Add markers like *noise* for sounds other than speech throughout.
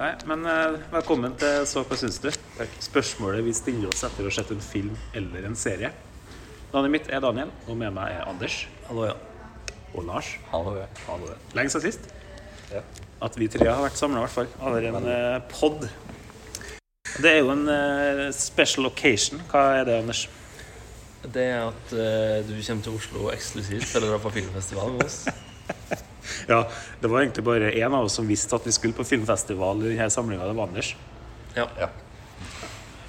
Nei, men eh, velkommen til Så hva syns du? Takk. Spørsmålet vi stiller oss etter å ha sett en film eller en serie. Navnet mitt er Daniel, og med meg er Anders Hallo, ja. og Lars. Hallo, ja. Lenge siden sist. Ja. At vi tre har vært samla, i hvert fall. Over en eh, pod. Det er jo en eh, special occasion. Hva er det, Anders? Det er at eh, du kommer til Oslo eksklusivt for å dra på filmfestival med oss. *laughs* Ja, det var egentlig bare én av oss som visste at vi skulle på filmfestival i denne samlinga. Det var Anders. Ja. ja.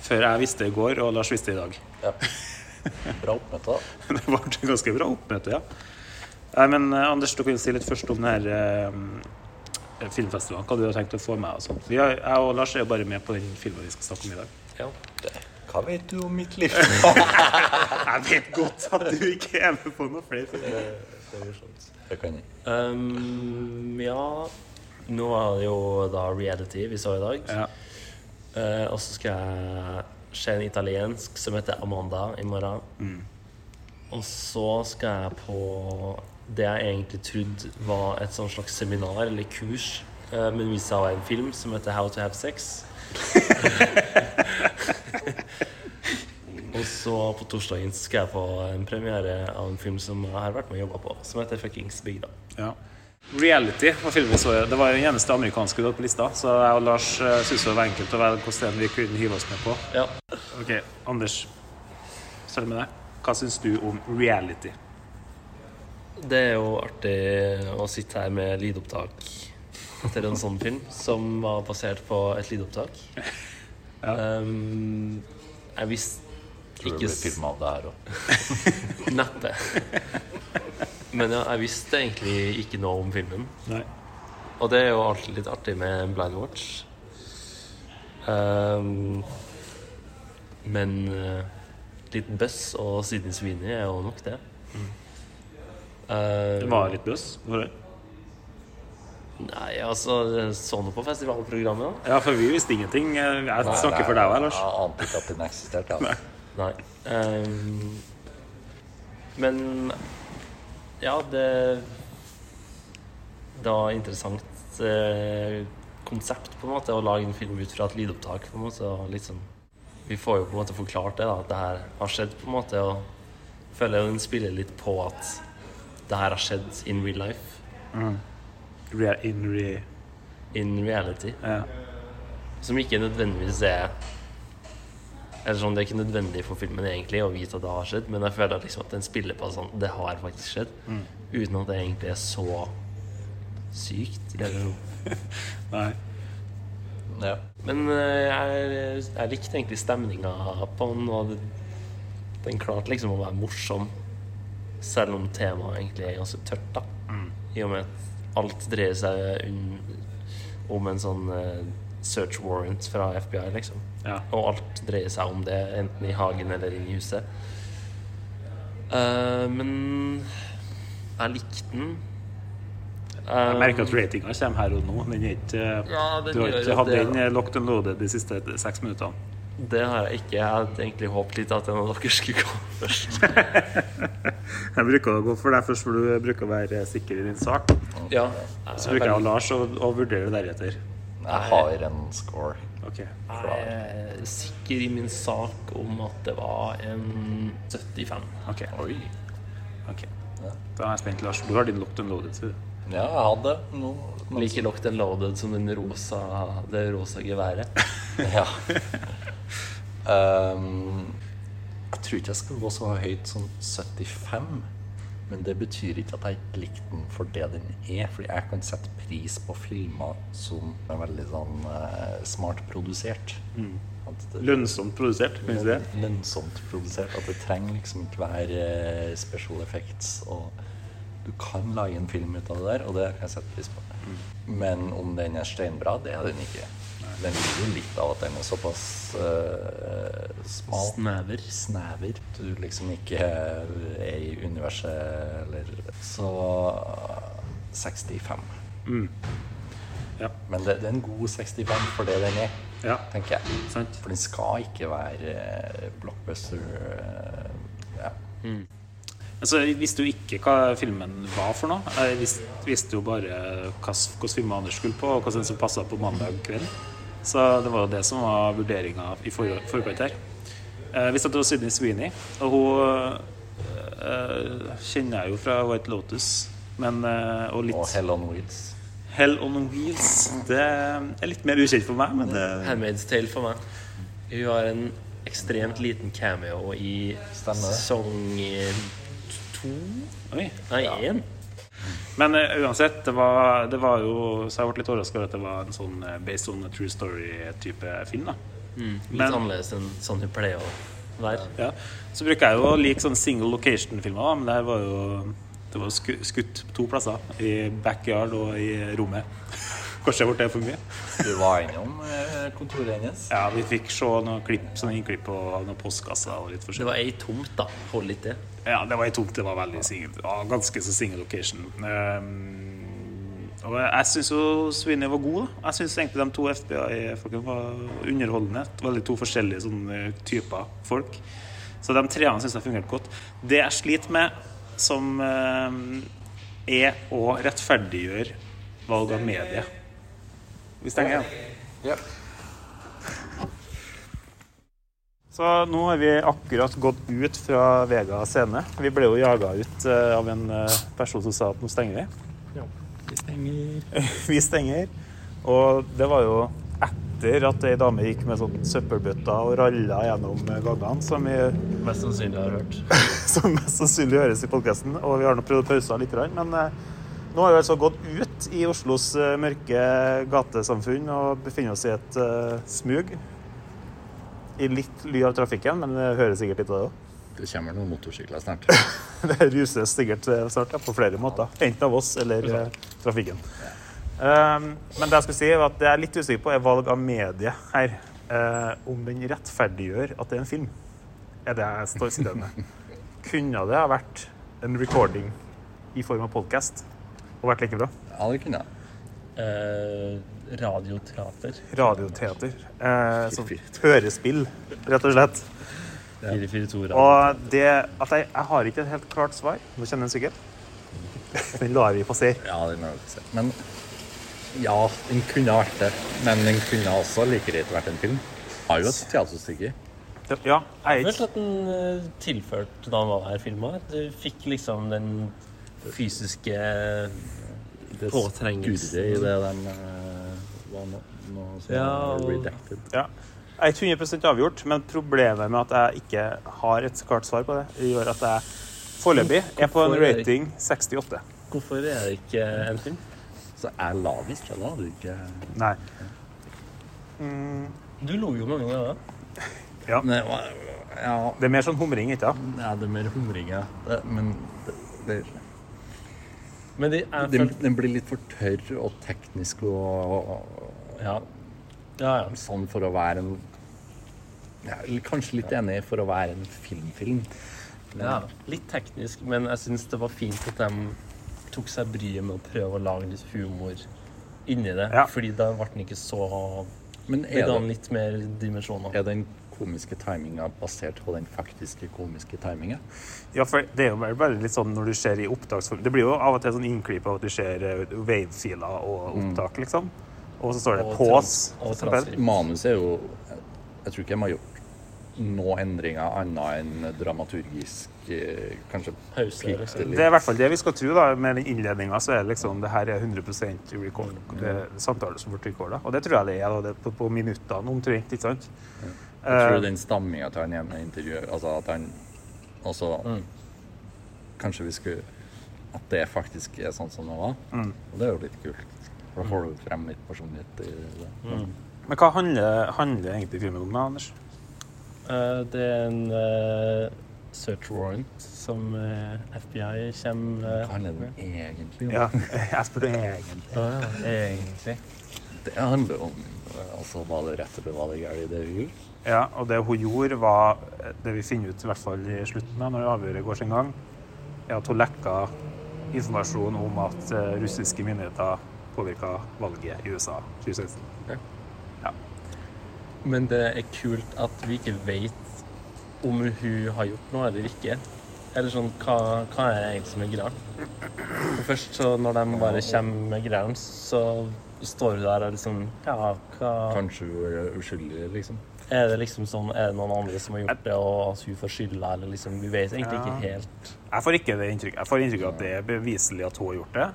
Før jeg visste i går, og Lars visste i dag. Bra oppmøte, da. Det ble et ganske bra oppmøte, ja. Nei, men eh, Anders, du kan jo si litt først om denne eh, filmfestivalen. Hva du har tenkt å få med og sånt. Vi har, jeg og Lars er jo bare med på den filmen vi skal snakke om i dag. Ja. Hva vet du om mitt liv? Jeg vet godt at du ikke er med på noen flere filmer. Det kan jeg. Um, ja. Nå er det jo da reality vi så i dag. Ja. Eh, og så skal jeg se en italiensk som heter Amanda i morgen. Og så skal jeg på det jeg egentlig trodde var et sånn slags seminar eller kurs, eh, men det viste seg å være en film som heter How to have sex. og så på torsdagen skal jeg på en premiere av en film som jeg har vært med og jobba på, som heter Fuckings Big Dog. Ja. Reality var filmen vi så. Det var jo den eneste amerikanske vi hadde på lista, så jeg og Lars eh, syntes det var enkelt å velge hvilken vi kunne hive oss med på. Ja. Ok, Anders. Start med deg. Hva syns du om reality? Det er jo artig å sitte her med lydopptak etter en sånn film, som var basert på et lydopptak. Um, jeg visste Tror du ikke blir s- filma av det her òg. Neppe. Men ja, jeg visste egentlig ikke noe om filmen. Nei. Og det er jo alltid litt artig med en blind watch. Um, men eh, litt buzz og Sydney Sweeney er jo nok det. Ehm, Um, Mm. Det var litt bøss? Var det? Nei, altså Sånn på festivalprogrammet, Ja, for vi visste ingenting. Jeg snakker for deg òg, Lars. Jeg ante ikke at den eksisterte. Altså. da? Nei. Ehm, men ja, det Det var interessant eh, konsept, på en måte, å lage en film ut fra et lydopptak. på en måte, og litt sånn, Vi får jo på en måte forklart det, da, at det her har skjedd, på en måte. Og føler jo den spiller litt på at det her har skjedd in real life. Re in re In reality. ja. Som ikke nødvendigvis er Eller sånn, Det er ikke nødvendig for filmen egentlig å vite at det har skjedd, men jeg føler at, liksom at den spiller på sånn Det har faktisk skjedd. Uten at det egentlig er så sykt. Eller noe. Nei. Ja. Men eh, jeg, jeg likte egentlig stemninga på den, og det, den klarte liksom å være morsom. Selv om temaet egentlig er ganske tørt, da. Mm. I og med at alt dreier seg unn- om en sånn eh, search warrant fra FBI, liksom. Ja. Og alt dreier seg om det, enten i hagen eller inne i huset. Eh, men jeg likte den. Jeg merker at ratinga kommer her og nå. Den er ikke eh, Ja, den Du har gjør ikke jo hatt det, den eh, locked and loaded de siste seks minuttene. Eh, Det har jeg ikke. Jeg hadde egentlig håpet litt at en av dere skulle komme *laughs* først. Jeg bruker å gå for deg først, for du bruker å være sikker i din sak. Ja. Så bruker jeg og Lars å å vurdere deretter. Jeg har en score. Ok. Jeg er sikker i min sak om at det var en 75. Ok. Oi. ok. Da er jeg spent, Lars. Du har din locked and loaded. sier du. Ja, jeg hadde no, no. Like locked and loaded som den rosa, det rosa geværet. *laughs* Ja. Ehm, jeg tror ikke jeg skal gå så høyt som 75. Men det betyr ikke at jeg ikke likte den for det den er. Fordi jeg kan sette pris på filmer som er veldig sånn eh, smart produsert. At det- Mm. Lønnsomt produsert, kan du si det? lønnsomt produsert. At det trenger liksom ikke være eh, special effects. Og du kan lage en film ut av det der, og det kan jeg sette pris på. Mm. Men om den er steinbra, det er den ikke. Den ligger jo litt av at den er såpass eh, smal. Snever. Snever. Du liksom ikke er i universet eller Så eh, 65. Ja. Men det, det er en god 65 for det den er, Ja. tenker jeg. Sant? For den skal ikke være eh, blockbuster eh, ja. Altså, jeg visste jo ikke hva filmen var for noe. eh, Jeg visste, visste jo bare hvilken kostyme Anders skulle på, og hva som passa på mandag kveld. Så det var jo det som var vurderinga i for- forkant her. Eh, Jeg visste at det var Sydney Sweeney, og hun eh, kjenner jeg jo fra White Lotus. Men, eh, og Og litt Hell on Wheels. Hell on Wheels. Det er litt mer ukjent for meg, men eh, det Handmaid's Tale for meg. Hun har en ekstremt liten cameo i Stemmer det. sesong to Oi. Nei, én. Men eh, uansett, det var, det var jo Så jeg ble litt overraska over at det var en sånn eh, based on a true story-type film. da Litt Men- annerledes enn sånn hun pleier å være. ja. Så bruker jeg jo å like sånne single location-filmer, da, men det her var jo det var jo sku, skutt på to plasser. I backyard og i rommet. Kanskje jeg ble det for mye. Du var innom eh, kontoret hennes. Ja, vi fikk se noen klipp, sånne innklipp på noen postkasser og litt Det forskjellig. var ei tomt, da. Hold litt det. Ja, det var i tomt. Det var veldig single, ja, ganske så single location. Ehm, og jeg syns jo Sweeney var god. da. Jeg syns egentlig de to FBI-folkene var underholdende. Veldig to forskjellige sånne typer folk. Så de treene syns jeg fungerte godt. Det jeg sliter med, som ehm, er å rettferdiggjøre valg av medie. Hvis jeg er Så nå har vi akkurat gått ut fra Vega scene. Vi ble jo jaga ut eh, av en eh, person som sa at nå stenger vi. Vi stenger *laughs* Vi stenger. Og det var jo etter at ei dame gikk med sånn søppelbøtta og ralla gjennom eh, gangene, som, vi, Mest sannsynlig har jeg hørt. *laughs* som mest sannsynlig høres i podkasten. Og vi har nå prøvd å pause litt, men eh, nå har vi altså gått ut i Oslos eh, mørke gatesamfunn og befinner oss i et eh, smug. I litt ly av trafikken, men det hører sikkert litt av det òg. Det kommer noen motorsykler snart. *laughs* *laughs* Det ruses sikkert eh, snart, ja, på flere måter. Enten av oss eller eh, trafikken. Um, men det jeg skulle si var at det jeg er litt usikker på, er valg av medie her. Eh, om den rettferdiggjør at det er en film, er det jeg står stille *laughs* med. Kunne det ha vært en recording i form av podkast og vært like bra? Ja, det kunne jeg. Eh, radioteater. Radioteater. Eh, sånn hørespill, rett og slett. 442 radio. Og det at jeg, jeg har ikke et helt klart svar. Nå kjenner jeg den *laughs* sikkert. Den lar vi passere. Ja, den har jeg ikke sett. Men ja, den kunne ha vært det. Men den kunne også like greit vært en film. Har jo et teaterstykke. Ja, jeg er Jeg følte ikke at den eh, tilførte da han var her, filma. Du fikk liksom den fysiske Det Påtrengelsen. skurrer i det de eh, var nå. nå som Ja, er og- redacted. Ja. Jeg er ikke 100 avgjort, men problemet med at jeg ikke har et klart svar på det, gjør at jeg foreløpig er på en Hvorfor er det- rating 68. Hvorfor er det ikke en film? Så jeg la den ikke, da hadde du ikke Nei. Du lo jo mange ganger. Men det var- ja, Det er mer sånn humring, ikke sant? det er det mer humringer. Det- Men det, det, Men det er den, den blir litt for tørr og teknisk og, og Ja. ja, ja. sånn for å være en ja, Kanskje litt enig for å være en filmfilm. ja. Litt teknisk, men jeg syns det var fint at de tok seg bryet med å prøve å lage litt humor inni det. Ja. Fordi da ble den ikke så Men Det er, ga den det, litt mer dimensjoner. er den komiske timinga basert på den faktiske komiske timinga? Ja, for det er jo bare- bare litt sånn når du ser i opptaksform Det blir jo av og til sånn innklipp av at du ser eh, wave-filer og opptak, liksom. Og så står det Mm. Og 'pause'. trans- og for eksempel. transkrip. Manuset er jo jeg- Jeg tror ikke de har gjort noen endringer annet enn dramaturgisk eh, Kanskje Pause, bitte liksom. Det er i hvert fall det vi skal tro. da, Med den innledninga så er det liksom det her er 100 record, Mm. det er samtaler som blir recorda. Og det tror jeg det er da, det er på, på minuttene omtrent. ikke sant? Eh, Jeg tror den stamminga til han ene intervjuet Altså at han Altså Kanskje vi skulle At det faktisk er sånn som det var. mm. Og det er jo litt kult. For da får du frem litt personlighet i det. Mm. Men hva handler, handler egentlig filmen om, da, Anders? Eh, Det er en eh, search warrant som eh, FBI kommer eh, Hva handler det egentlig om? Ja, *laughs* jeg spør deg egentlig. Ja, ja, egentlig. Det handler om eh, Altså, var det rett eller var det galt, det vi gjorde? Ja, og det hun gjorde, var det vi finner ut i hvert fall i slutten, da, når avhøret går sin gang, er at hun lekka informasjon om at eh, russiske myndigheter påvirka valget i USA 2016. Men det er kult at vi ikke vet om hun har gjort noe eller ikke. Eller sånn, hva, hva er det egentlig som er greia? For først så når de bare kommer med greiene, så står du der og liksom Ja, hva Kanskje hun er uskyldig, liksom. Er det liksom sånn, er det noen andre som har gjort det, og at hun får skylda, eller liksom Vi vet egentlig ikke helt. Jeg får ikke det inntrykk. Jeg får inntrykk av at det er beviselig at hun har gjort det.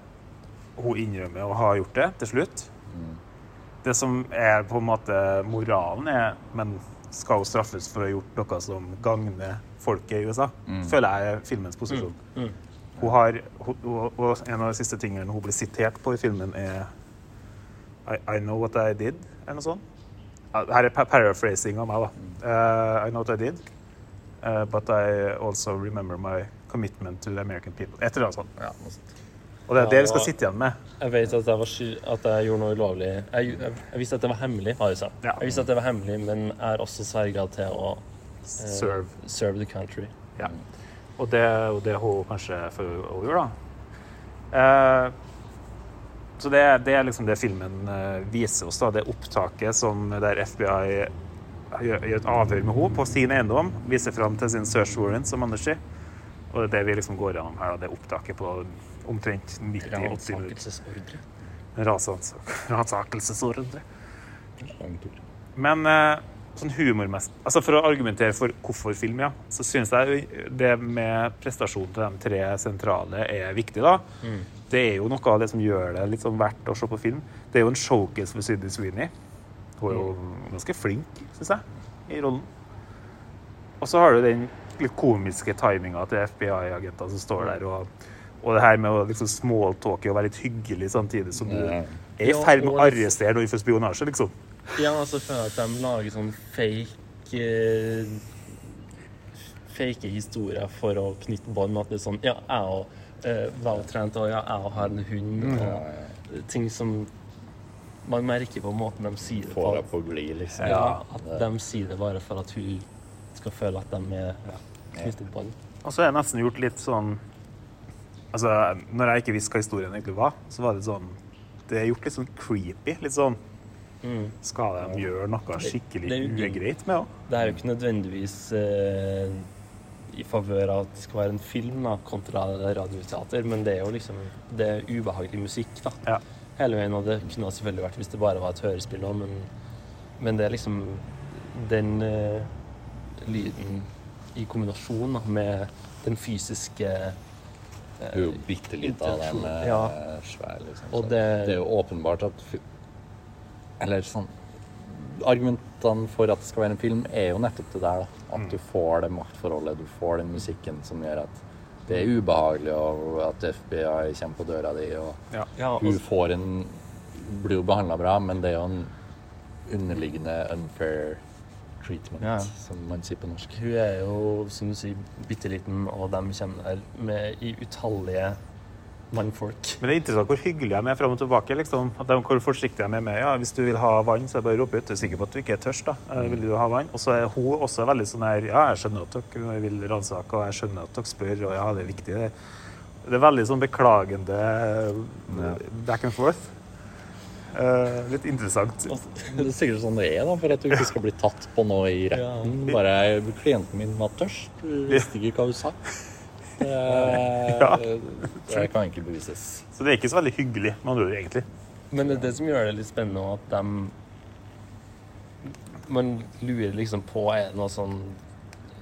Hun innrømmer å ha gjort det til slutt. Det som er på en måte moralen, er Men skal hun straffes for å ha gjort noe som gagner folket i USA? Føler jeg er filmens posisjon. Hun har, hun, hun, og en av de siste tingene hun blir sitert på i filmen, er I, I know what I did, eller noe sånt. Ja, Her er pa- paraphrasing av meg, da. Eh, I know what I did, eh, but I also remember my commitment to the American people. Et eller annet sånt. Ja, noe sånt. Og det er det vi skal Ja. Eh. sitte igjen med. Jeg vet at jeg, var sky at jeg gjorde noe ulovlig. Jeg, jeg, jeg visste at det var hemmelig, har jeg sagt. Ja. Jeg visste at det var hemmelig, men jeg har også sverga til å eh, Serve. serve the country. Ja. Og det er jo det hun kanskje får å gjøre, da. Eh, så det, er- det er liksom det filmen eh, viser oss, da. Det opptaket som der FBI gjør, gjør et avhør med henne på sin eiendom, viser fram til sin search warrant, som Anders sier. Og det er det vi liksom går gjennom her, da. Det opptaket på omtrent 90-80 minutter. Ransakelsesordre. *laughs* Ransaks- Ransakelsesordre. Langt ord. Men eh, sånn humormessig Altså For å argumentere for hvorfor film, ja, så syns jeg det med prestasjonen til de tre sentrale er viktig, da. Mm. Det er jo noe av det som gjør det litt sånn verdt å se på film. Det er jo en showcase for Sydney Sweeney. Hun er jo Mm. ganske flink, syns jeg, i rollen. Og så har du den litt komiske timinga til FBI-agenter som står der og og det her med å liksom smalltalke og være litt hyggelig samtidig som du Ja. er i Ja, ferd med å og- arrestere noen for spionasje, liksom. Ja, altså føler jeg at de lager sånn fake eh, Fake historier for å knytte bånd med at det er sånn Ja, jeg òg eh, var trent, og ja, jeg òg har en hund, og ting som man merker på måten de sier det på. Får deg på glid, liksom. Ja, at det- de sier det bare for at hun skal føle at de er knyttet på den. Og så er jeg nesten gjort litt sånn Altså, når jeg ikke visste hva historien egentlig var, så var det sånn Det er gjort litt sånn creepy. Litt sånn Skal de gjøre noe Mm. det skikkelig er jo- ugreit med òg? Det er jo ikke nødvendigvis eh, i favør av at det skal være en film da, kontra radioteater, men det er jo liksom det er ubehagelig musikk da. Ja. hele veien, og det kunne det selvfølgelig vært hvis det bare var et hørespill òg, men, men det er liksom den eh, lyden i kombinasjon da, med den fysiske eh, Hun er jo bitte litt av den eh, Ja. svær, liksom. Og Så det- det er jo åpenbart at fi- Eller sånn Argumentene for at det skal være en film, er jo nettopp det der. da. Mm. At du får det maktforholdet, du får den musikken som gjør at det er ubehagelig, og at FBI kommer på døra di, og Ja. ja, altså- og- hun får en Blir jo behandla bra, men det er jo en underliggende unfair treatment, Ja. som man sier på norsk. Hun er jo, som du sier, bitte liten, og de kommer der med, i utallige mannfolk. Men det er interessant hvor hyggelig de er fram og tilbake. liksom. At de, hvor forsiktige de er med. Ja, hvis du vil ha vann, så er det bare å rope ut. Jeg er sikker på at du ikke er tørst. da. Eh, Vil du ha vann? Og så er hun også veldig sånn her Ja, jeg skjønner at dere vil ransake, og jeg skjønner at dere spør, og ja, det er viktig. Det, det er veldig sånn beklagende eh, back and forth. Eh, litt interessant. Det er sikkert sånn det er, da, for at du ikke skal bli tatt på noe i retten. Bare klienten min var tørst. Du visste ikke hva hun sa. Det, det kan ikke bevises. Så det er ikke så veldig hyggelig, med andre ord, egentlig. Men det er det som gjør det litt spennende, og at de Man lurer liksom på er det noe sånn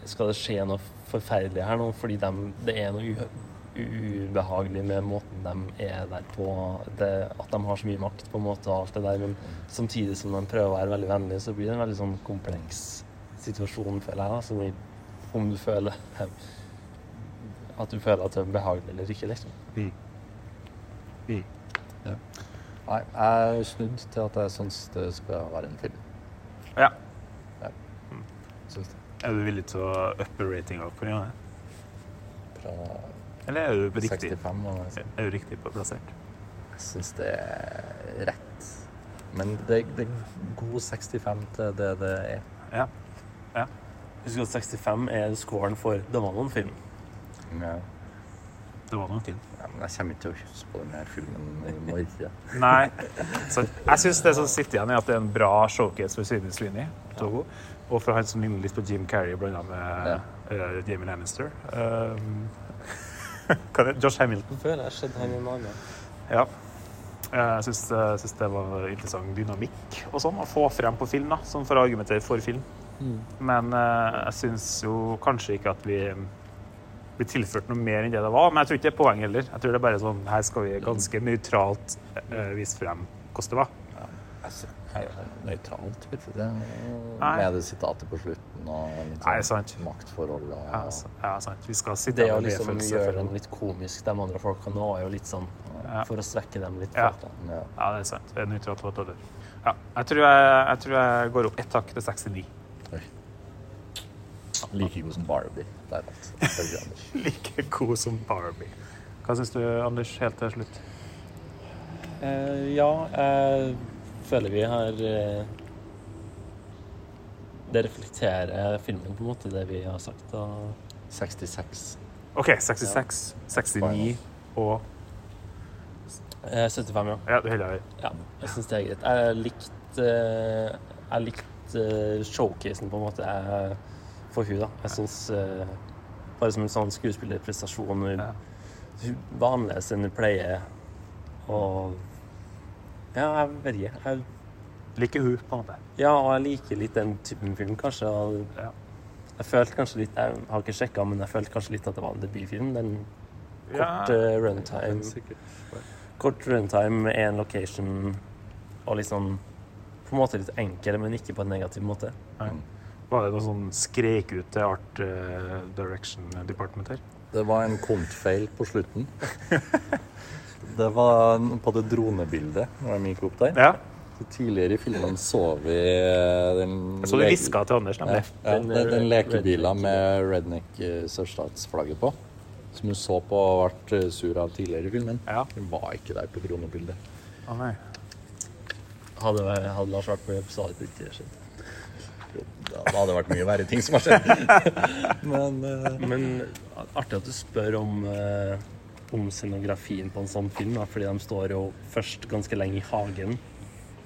Skal det skje noe forferdelig her nå? Fordi dem- det er noe u- ubehagelig med måten de er der på. Det, at de har så mye makt på en måte og alt det der. Men samtidig som de prøver å være veldig vennlige, så blir det en veldig sånn kompleks situasjon, føler jeg. da, som i- om du føler At du føler at det er behagelig eller ikke, liksom. Nei, jeg er snudd til at jeg syns det skal være en film. Ja. Mm. Syns det. Er du villig til å uppe ratinga på ja? Fra Eller er du riktig, 65 og er du riktig på plassert? jeg syns det er rett. Men det, det er god 65 til det det er. Ja. Husk at 65 er scoren for Det var noen film. Ja. Det var noen film. men jeg kommer ikke til å huske på denne filmen i morgen. Nei. Så jeg syns det som sitter igjen, er at det er en bra showcase for Sydney Sweeney. kjent logo. Og fra han som ligner litt på Jim Carrey, blanda med Ja. eh, Jamie Lannister. Um, *laughs* hva er det? Josh Hamilton. Før jeg har sett han i en annen. Ja. Eh, Jeg syns, jeg syns det var interessant dynamikk og sånn, å få frem på film, da, sånn for å argumentere for film. Men eh, jeg syns jo kanskje ikke at vi blir tilført noe mer enn det det var. Men jeg tror ikke det er poeng heller. Jeg tror det er bare sånn Her skal vi ganske nøytralt eh, vise frem hvordan det var. Altså, er jo nøytralt, vet du. Det, Nei. med det sitatet på slutten og litt Nei, sånn sant. maktforhold og Ja, altså. s- ja sant. Vi skal sitte Det å med liksom medfølelse for- gjøre den litt komisk, de andre folka nå, er jo litt sånn For å svekke dem litt. Ja. folk, da. ja. Ja, det er sant. Det er nøytralt på dollar. Ja, jeg tror jeg, jeg tror jeg går opp ett hakk til 69. Oi. Like god som Barbie. altså. Det er alt. Følger Anders. *laughs* Like god som Barbie. Hva syns du, Anders, helt til slutt? Eh, ja, jeg føler vi har eh, Det reflekterer filmen på en måte, det vi har sagt. Og 66. OK, 66, 69 og eh, 75, ja. Ja, du heller ja jeg syns det er greit. Jeg likte eh, Jeg likte eh, showcasen, på en måte, jeg, eh, for hun da. Jeg syns eh, Bare som en sånn skuespillerprestasjon Hun Ja. hun var annerledes enn hun pleier. Og Ja, jeg vet ikke. Jeg liker hun, på en måte. Ja, og jeg liker litt den typen film, kanskje. Og Ja. jeg følte kanskje litt Jeg har ikke sjekka, men jeg følte kanskje litt at det var en debutfilm. Den kort Ja, eh, runtime Kort runtime med én location og litt sånn På en måte litt enkel, men ikke på en negativ måte. Mm. var det noe sånn skrek ut til Art eh, Direction Department her? Det var en kontfeil på *laughs* slutten. Det var en- på det dronebildet. Det var en mikrop der. Ja. Så tidligere i filmen så vi eh, den Jeg så du leke- hviska til Anders, Ja, nemlig. ja, Den, den, den eh, redneck- lekebilen med redneck eh, sørstatsflagget på. Som du så på og ble eh, sur av tidligere i filmen. Ja. Den var ikke der på dronebildet. Å nei. Hadde, hadde Lars vært på jobb, så hadde det ikke skjedd. Da da hadde det vært mye verre ting som har skjedd. *laughs* Men eh, Men artig at du spør om eh, om scenografien på en sånn film, da, fordi de står jo først ganske lenge i hagen.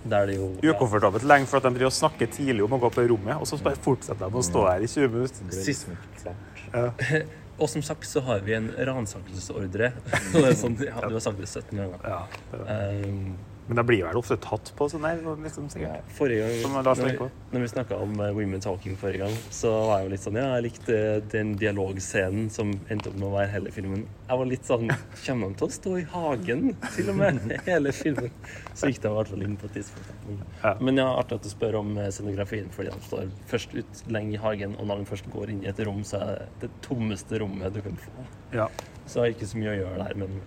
Der det jo Ukomfortabelt lenge for at de driver og snakker tidlig om å gå på rommet, og så bare fortsetter de å stå her i 20 minutter. Sist- ja. *laughs* Og som sagt så har vi en ransakelsesordre. *laughs* Og det er sånn, ja, du har sagt det 17 ganger. Ja, det var- Um, men de blir vel ofte tatt på sånn her, liksom, sikkert. forrige gang, Som Lars når, tenker på. vi- når vi snakka om eh, Women Talking forrige gang, så var jeg jo litt sånn Ja, jeg likte den dialogscenen som endte opp med å være hele filmen. Jeg var litt sånn Kommer de til å stå i hagen, til og med? *laughs* Hele filmen. Så gikk de i hvert fall inn på et tidspunkt. da. Men, Ja. men ja, artig at du spør om eh, scenografien, fordi de står først ut lenge i hagen, og når de først går inn i et rom, så er det det tommeste rommet du kan få. Ja. Så det er ikke så mye å gjøre der, men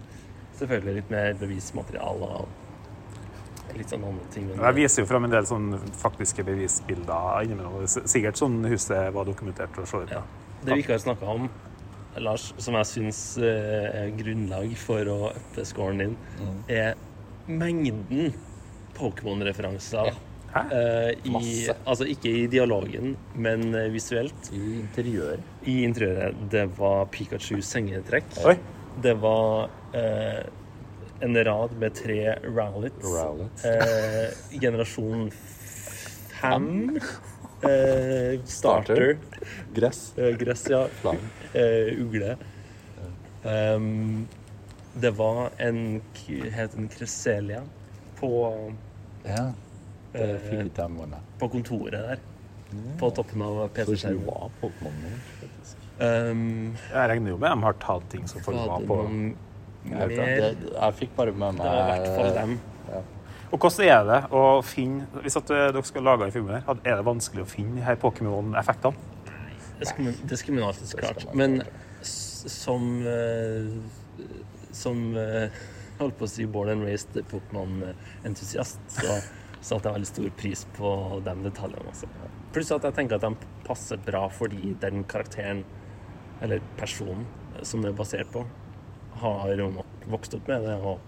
selvfølgelig litt mer bevismateriale og litt sånn andre ting. Jeg Men viser jo fram en del sånn faktiske bevisbilder innimellom. S- Sikkert sånn huset var dokumentert og så ut. ja. Det vi ikke har snakka om, Lars, som jeg syns er grunnlag for å uppe scoren din, er mengden Pokémon-referanser. Hæ? Eh, i, Masse. altså ikke i dialogen, men eh, visuelt. I interiøret. I interiøret. Det var Pikachus sengetrekk. Oi! Det var eh, en rad med tre Rowlets. Rowlets. Eh, generasjon fem. Eh, starter. Gress. Eh, gress, ja. Flagg. Eh, ugle. Ehm, det var en k- Het en Cresselia på, Ja. Det eh, fikk ikke jeg med meg. på kontoret der. På toppen av Så ikke du PC-skjermen. var Pokémon-en, faktisk. Um, Jeg regner jo med de har tatt ting som folk var hadde på. noen Jeg, mer vet ikke, Det det- jeg fikk bare med meg var i hvert fall dem. Og hvordan er det å finne Hvis at eh, dere skal lage en film her, had- er det vanskelig å finne de her Pokémon-effektene? Det skulle, man- det skulle man alltid klart. man Men klart. s- som eh, Som eh, holdt på å si born and raised Pokémon-entusiast, så *laughs* satte jeg veldig stor pris på de detaljene. Også. Pluss at jeg tenker at de passer bra fordi den karakteren, eller personen, eh, som det er basert på, har jo nok vokst opp med det. Og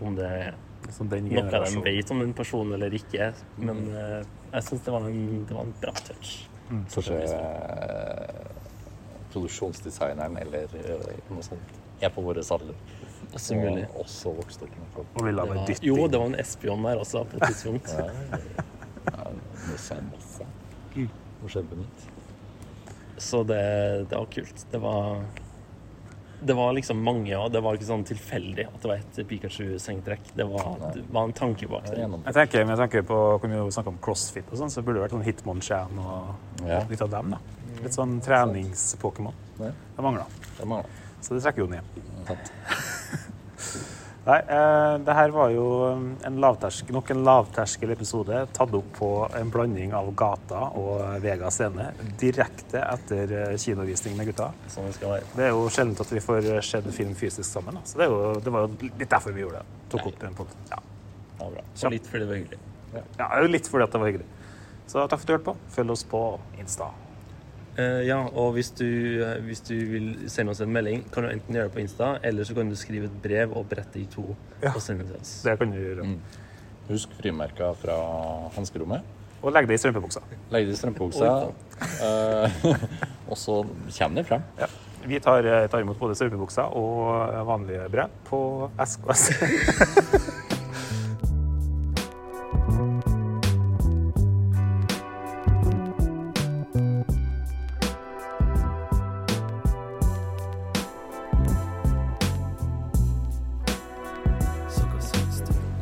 om det er Som Sånn den noe de generasjonen. vet om den personen eller ikke. Men eh, jeg syns det, var en- det var en bra touch. Kanskje eh, produksjonsdesigneren eller eh, noe sånt er på våre saler. Som mulig. Og også vokst opp med folk. Og ville ha Det bare var, dytte jo, inn. det var en Espion der også, på et tidspunkt. Ja, ja, ja. Ja, det ser masse. Mm. noe kjempenytt. Så det, det var kult. Det var Det var liksom mange, og det var ikke sånn tilfeldig at det var et Pikachu-sengtrekk. Det var, det var en tanke bak Det er det. gjennom- Jeg tenker, men jeg tenker på, Kunne vi jo snakke om crossfit, og sånn, så burde det vært sånn Hitmonchan og Ja. litt av dem. da. Litt sånn trenings-Pokémon. Nei, Det mangler. det mangler. Så det trekker jo ned. Tatt. Nei, eh, det her var jo um, en lavtersk, nok en lavterskel episode tatt opp på en blanding av Gata og eh, Vega scene direkte etter eh, kinovisning med gutta. Sånn det skal være. Det er jo sjelden at vi får eh, sett film fysisk sammen, da. så det, er jo, det var jo litt derfor vi gjorde det. Tok opp den podden. Ja. Det var bra. Kjapt. Og litt fordi det var hyggelig. ja, det er jo litt fordi at det var hyggelig. Så takk for at du hørte på. Følg oss på Insta. Eh, ja, og hvis du, eh, hvis du vil sende oss en melding, kan du enten gjøre det på Insta, eller så kan du skrive et brev og brette i to og sende det til oss. Det kan du gjøre. Husk frimerka fra hanskerommet. Og legg det i strømpebuksa. Legg det i strømpebuksa. eh, og så kommer det frem. Ja. Vi tar, eh, tar imot både strømpebuksa og eh, vanlige brev på SKS. *laughs*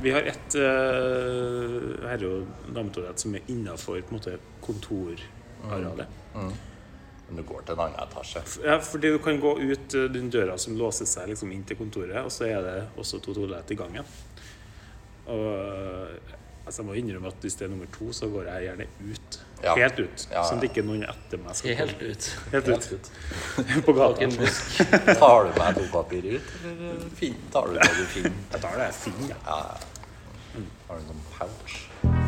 Vi har et eh, herre- og dametoalett som er innafor kontorarealet. Men du går til en annen etasje. Ja, fordi du kan gå ut eh, den døra som låser seg liksom inn til kontoret, og så er det også to toalett i gangen. Og eh, altså, jeg må innrømme at hvis det er nummer to, så går jeg gjerne ut. Ja. Helt ut. Ja, ja. Sånn at ikke noen etter meg skal Helt ut. Helt ut. *laughs* På gata. En busk. Tar du med dopapir ut, eller fin- tar du hva du finner? Jeg tar det jeg finner. jeg. Har du noen pouch?